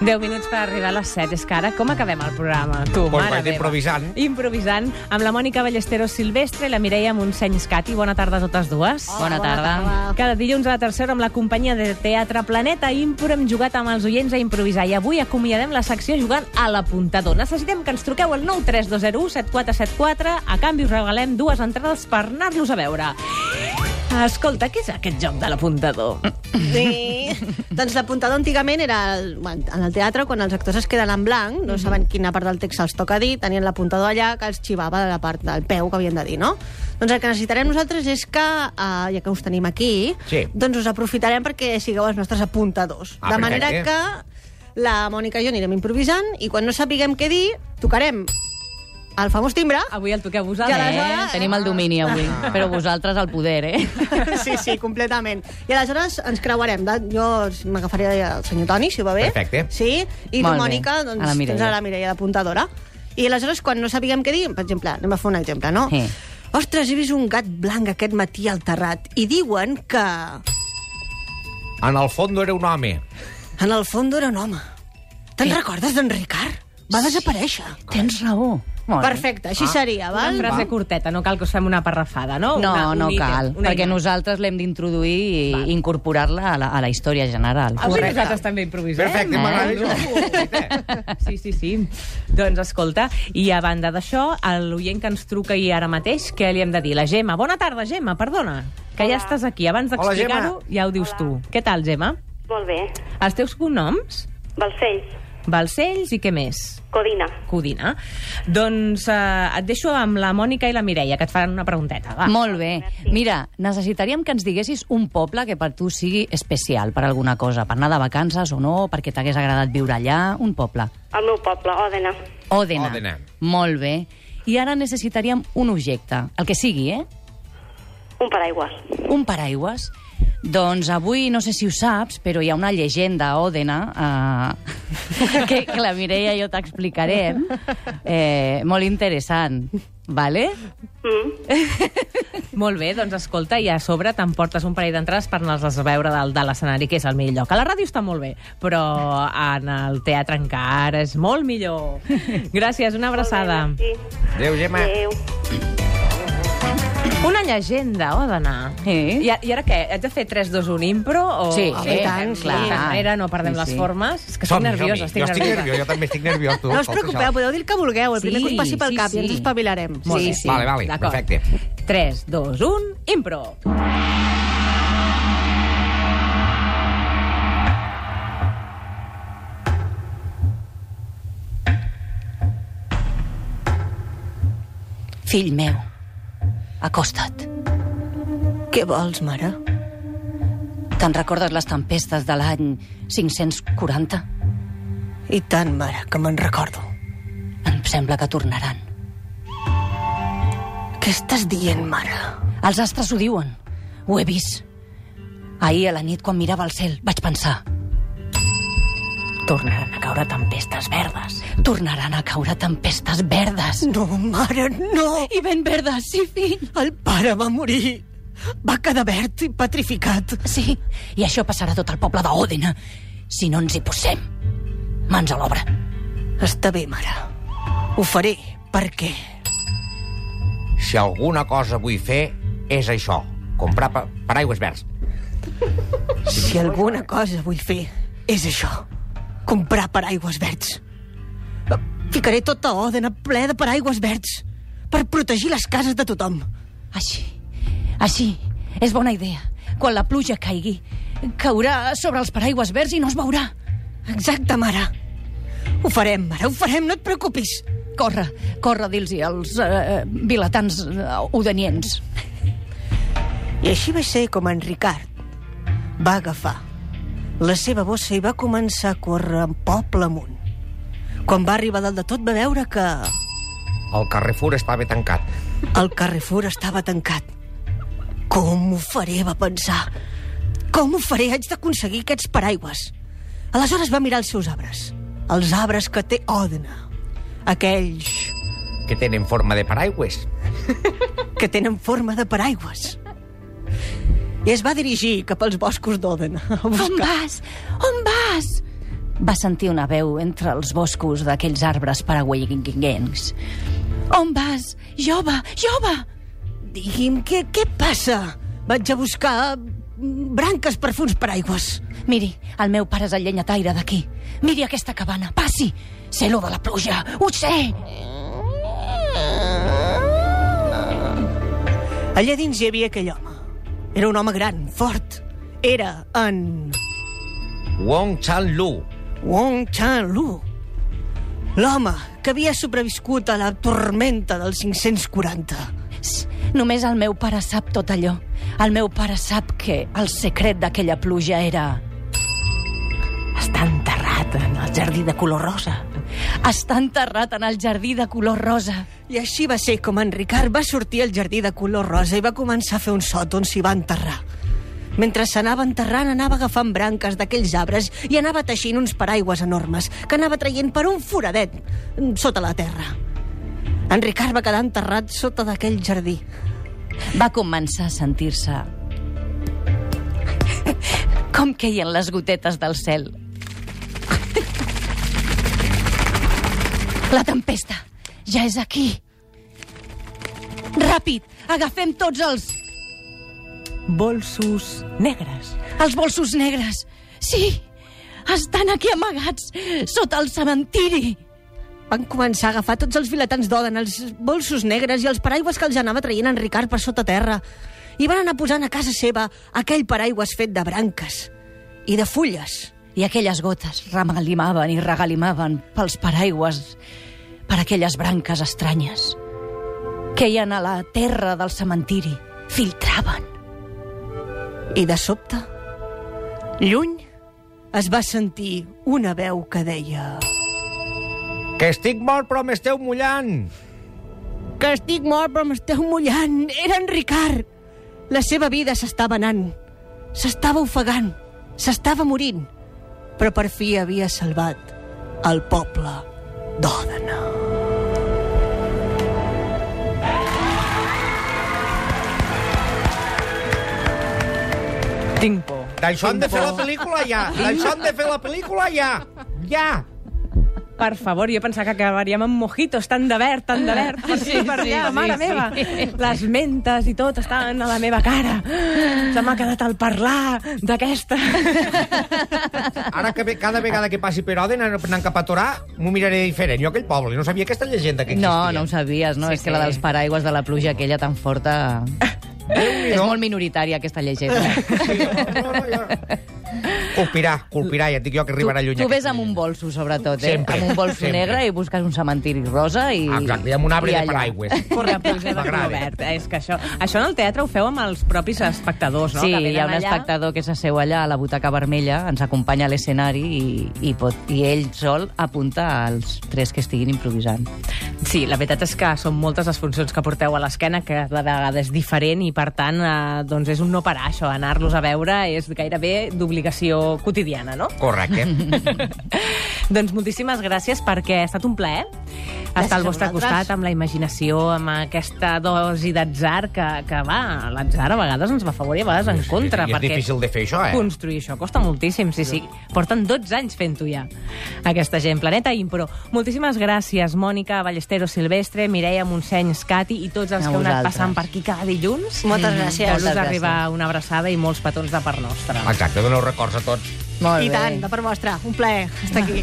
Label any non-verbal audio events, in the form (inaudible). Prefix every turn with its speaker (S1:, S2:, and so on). S1: 10 minuts per arribar a les 7. És que ara com acabem el programa? Tu,
S2: Pues
S1: mare
S2: vaig
S1: meva.
S2: improvisant.
S1: Improvisant amb la Mònica Ballesteros Silvestre i la Mireia Montseny Escati. Bona tarda a totes dues.
S3: Bona tarda.
S1: Cada dilluns a la tercera amb la companyia de Teatre Planeta Impro hem jugat amb els oients a improvisar i avui acomiadem la secció jugant a l'apuntador. Necessitem que ens truqueu al 93201-7474. A canvi us regalem dues entrades per anar-los a veure. Escolta, què és aquest joc de l'apuntador?
S4: Sí. doncs l'apuntador antigament era el, bueno, en el teatre quan els actors es queden en blanc,
S2: Mhm.
S4: no saben quina part del text els toca dir, tenien l'apuntador allà que els xivava de la part del peu que havien de dir, no? Doncs el que necessitarem nosaltres és que, eh, ja que us tenim aquí,
S2: Sí.
S4: doncs us aprofitarem perquè sigueu els nostres apuntadors.
S2: Ah, perfecte.
S4: de manera que la Mònica i jo anirem improvisant i quan no sapiguem què dir, tocarem el famós timbre.
S1: Avui el toqueu
S4: I
S1: vosaltres.
S4: aleshores-
S3: Eh? Tenim el domini avui, però vosaltres el poder, eh?
S4: (laughs) Sí, sí, completament. I aleshores ens creuarem. De- Jo m'agafaré el senyor Toni, si va bé.
S2: Perfecte.
S4: Sí, i
S3: Molt
S4: tu,
S3: bé.
S4: Mònica, doncs,
S3: A la
S4: a
S3: Mireia.
S4: tens a la Mireia d'apuntadora. I aleshores, quan no sapiguem què dir, per exemple, anem a fer un exemple, no?
S3: Sí.
S4: Ostres, he vist un gat blanc aquest matí al terrat i diuen que
S2: En el fons era un home.
S4: en el fons era un home. Te'n recordes d'en Ricard? Va desaparèixer.
S3: Tens raó. Molt bé. Ah,
S4: Perfecte, així seria, val?
S1: Una frase curteta, no cal que us fem una parrafada, no?
S3: No,
S1: Oh, una,
S3: no
S1: un ítem,
S3: cal,
S1: una
S3: perquè
S1: idea.
S3: nosaltres l'hem d'introduir i incorporar-la a, la, a la història general.
S1: Avui Ah,
S2: Correcte.
S1: doncs nosaltres també improvisem.
S2: Perfecte,
S3: Eh?
S2: m'agrada.
S1: (laughs) Sí, sí, sí. Doncs escolta, i a banda d'això, a l'oient que ens truca i ara mateix, què li hem de dir? La Gemma. Bona tarda, Gemma, perdona, que ja estàs aquí. Abans
S2: Hola,
S1: d'explicar-ho, ja ho dius tu. Què tal, Gemma?
S5: Molt bé.
S1: Els teus cognoms?
S5: Balcells,
S1: Balcells i què més?
S5: Codina.
S1: Codina. Doncs eh, et deixo amb la Mònica i la Mireia, que et faran una pregunteta. Va.
S3: Ah, Molt bé. Mira, necessitaríem que ens diguessis un poble que per tu sigui especial per alguna cosa, per anar de vacances o no, perquè t'hagués agradat viure allà, un poble.
S5: El meu poble, Òdena.
S3: Òdena.
S2: Òdena.
S3: Molt bé. I ara necessitaríem un objecte, el que sigui, eh?
S5: Un paraigua.
S3: Un paraigües. Doncs avui, no sé si ho saps, però hi ha una llegenda a Òdena, eh, (laughs) que, que la Mireia i jo t'explicarem, eh, molt interessant, vale?
S5: Mm.
S1: Molt bé, doncs escolta, i a sobre t'emportes un parell d'entrades per anar-les a veure del, de l'escenari, que és el millor. Que a la ràdio està molt bé, però en el teatre encara és molt millor. Gràcies, una abraçada.
S5: Sí.
S2: Adéu, Gemma.
S5: Adéu.
S1: Una llegenda, o d'anar.
S3: Sí.
S1: I, a- I ara què? Haig de fer 3, 2, 1 impro? O... Ah,
S3: Sí,
S1: o
S3: sí,
S1: fem- fem
S4: tant,
S3: clar.
S1: Manera, no perdem
S3: Sí,
S1: les
S3: sí.
S1: formes. És que estic
S2: Som-hi,
S1: nerviosa,
S2: som-hi.
S1: estic
S2: jo estic
S1: nerviosa.
S2: nerviós, jo també estic nerviós. Tu,
S4: No us
S2: escolta,
S4: preocupeu, podeu dir el que vulgueu. El primer
S3: Sí,
S4: que us passi pel
S3: sí,
S4: cap
S3: sí.
S4: i ens espavilarem.
S3: Molt
S4: Sí.
S3: bé.
S2: això. Vale, vale,
S1: D'acord.
S2: perfecte.
S1: 3, 2, 1, impro!
S3: Fill meu, acosta't.
S4: Què vols, mare?
S3: Te'n recordes les tempestes de l'any 540?
S4: I tant, mare, que me'n recordo.
S3: Em sembla que tornaran.
S4: Què estàs dient, mare?
S3: Els astres ho diuen. Ho he vist. Ahir a la nit, quan mirava el cel, vaig pensar... Tornaran a caure tempestes verdes. Tornaran a caure tempestes verdes.
S4: No, mare, no!
S3: I ben verdes, sí, fill.
S4: El pare va morir. Va quedar verd i petrificat.
S3: Sí, i això passarà a tot el poble d'Òdena. Si no ens hi posem, mans a l'obra.
S4: Està bé, mare. Ho faré. Per què?
S2: Si alguna cosa vull fer, és això. Comprar pa paraigües verds.
S4: Si alguna cosa vull fer, és això. Comprar paraigües verds. Ficaré tota Òdena ple de paraigües verds per protegir les cases de tothom.
S3: Així, així, és bona idea. Quan la pluja caigui, caurà sobre els paraigües verds i no es veurà.
S4: Exacte, mare. Ho farem, mare, ho farem, no et preocupis.
S3: Corre, corre, dir-los als eh, vilatans eh, odeniens.
S4: I així va ser com en Ricard va agafar la seva bossa i va començar a córrer poble amunt. Quan va arribar dalt de tot va veure que
S2: El Carrefour estava tancat.
S4: el Carrefour estava tancat. Com ho faré, va pensar. Com ho faré? Haig d'aconseguir aquests paraigües. Aleshores va mirar els seus arbres. Els arbres que té Òdena. Aquells
S2: Que tenen forma de paraigües.
S4: que tenen forma de paraigües. i es va dirigir cap als boscos d'Oden. a
S3: On
S4: buscar-
S3: vas? On vas? Va sentir una veu entre els boscos d'aquells arbres paraguayenguencs. On vas? Jove, jove!
S4: Digui'm, què, què passa? Vaig a buscar mm, branques per fer uns paraigües.
S3: Miri, el meu pare és el llenyataire d'aquí. Miri aquesta cabana, passi! Sé lo de la pluja, ho sé!
S4: Allà dins hi havia aquell home. Era un home gran, fort. Era en
S2: Wong Chan Lu.
S4: Wong Chan Lu. L'home que havia sobreviscut a la tormenta del 540.
S3: Ss, Només el meu pare sap tot allò. El meu pare sap que el secret d'aquella pluja era...
S6: Està enterrat en el jardí de color rosa.
S3: Està enterrat en el jardí de color rosa.
S4: I així va ser com en Ricard va sortir al jardí de color rosa i va començar a fer un sot on s'hi va enterrar. Mentre s'anava enterrant, anava agafant branques d'aquells arbres i anava teixint uns paraigües enormes que anava traient per un foradet mm, sota la terra. En Ricard va quedar enterrat sota d'aquell jardí.
S3: Va començar a sentir-se... com queien les gotetes del cel. La tempesta ja és aquí. Ràpid, agafem tots els...
S6: Bolsos negres.
S3: Els bolsos negres. Sí, estan aquí amagats, sota el cementiri.
S4: Van començar a agafar tots els vilatans d'Oden, els bolsos negres i els paraigües que els anava traient en Ricard per sota terra. I van anar posant a casa seva aquell paraigües fet de branques i de fulles.
S3: I aquelles gotes remalimaven i regalimaven pels paraigües, per aquelles branques estranyes. Queien a la terra del cementiri, filtraven.
S4: I de sobte, lluny, es va sentir una veu que deia...
S2: Que estic mort, però m'esteu mullant.
S4: Que estic mort, però m'esteu mullant. Era en Ricard. La seva vida s'estava anant. S'estava ofegant. S'estava morint. Però per fi havia salvat el poble d'Òdena.
S6: Tinc por.
S2: D'això hem de fer la pel·lícula ja. D'això hem de fer la pel·lícula ja. Ja.
S1: Per favor, jo pensava que acabaríem amb mojitos, tan de verd, tan de verd, per sí, per allà, sí, mare sí, meva. Sí. Les mentes i tot estaven a la meva cara. Se m'ha quedat al parlar d'aquesta.
S2: Ara que ve- cada vegada que passi per Oden anant cap a Torà, m'ho miraré diferent. Jo aquell poble, no sabia aquesta llegenda que existia.
S3: No, no ho sabies, no? Sí, és que la dels paraigües de la pluja aquella tan forta... És molt minoritària, aquesta llegenda.
S2: Sí, no, no, no, ja. Colpirà, colpirà, ja et dic jo que (laughs) arribarà
S3: tu,
S2: lluny.
S3: tu ves
S2: aquest
S3: amb un bolso, sobretot, eh?
S2: Sempre,
S3: Amb un bolso
S2: sempre.
S3: negre i busques un cementiri rosa i...
S2: Ah, Exacte, i amb un arbre
S3: i
S2: de
S3: allà.
S2: paraigües.
S1: Corre, pluja de color
S2: M'agrada.
S1: verd. És que això, això en el teatre ho feu amb els propis espectadors, no?
S3: Sí,
S1: Que venen
S3: hi ha un
S1: allà.
S3: espectador que s'asseu allà a la butaca vermella, ens acompanya a l'escenari i, i, pot, i ell sol apunta als tres que estiguin improvisant.
S1: Sí, la veritat és que són moltes les funcions que porteu a l'esquena, que de vegades és diferent i, per tant, eh, doncs és un no parar, això. Anar-los a veure és gairebé d'obligació quotidiana, no?
S2: Correcte.
S1: Doncs moltíssimes gràcies perquè ha estat un plaer estar al
S4: a
S1: vostre
S4: vosaltres.
S1: costat amb la imaginació, amb aquesta dosi d'atzar que, que va, l'atzar a vegades ens va a favor i a vegades en contra.
S2: I és difícil de fer això, eh?
S1: Construir això costa moltíssim, sí, sí. Porten 12 anys fent-ho ja, aquesta gent. Planeta Impro. Moltíssimes gràcies, Mònica Ballesteros Silvestre, Mireia Montseny, Scati i tots els
S3: A
S1: que heu anat
S3: vosaltres.
S1: passant per aquí cada dilluns.
S4: Moltes
S1: Feu-los
S3: moltes gràcies.
S1: arribar una abraçada i molts petons de part nostra.
S2: Exacte, doneu records a tots.
S3: Molt
S4: I tant, de part vostra. Un plaer estar aquí.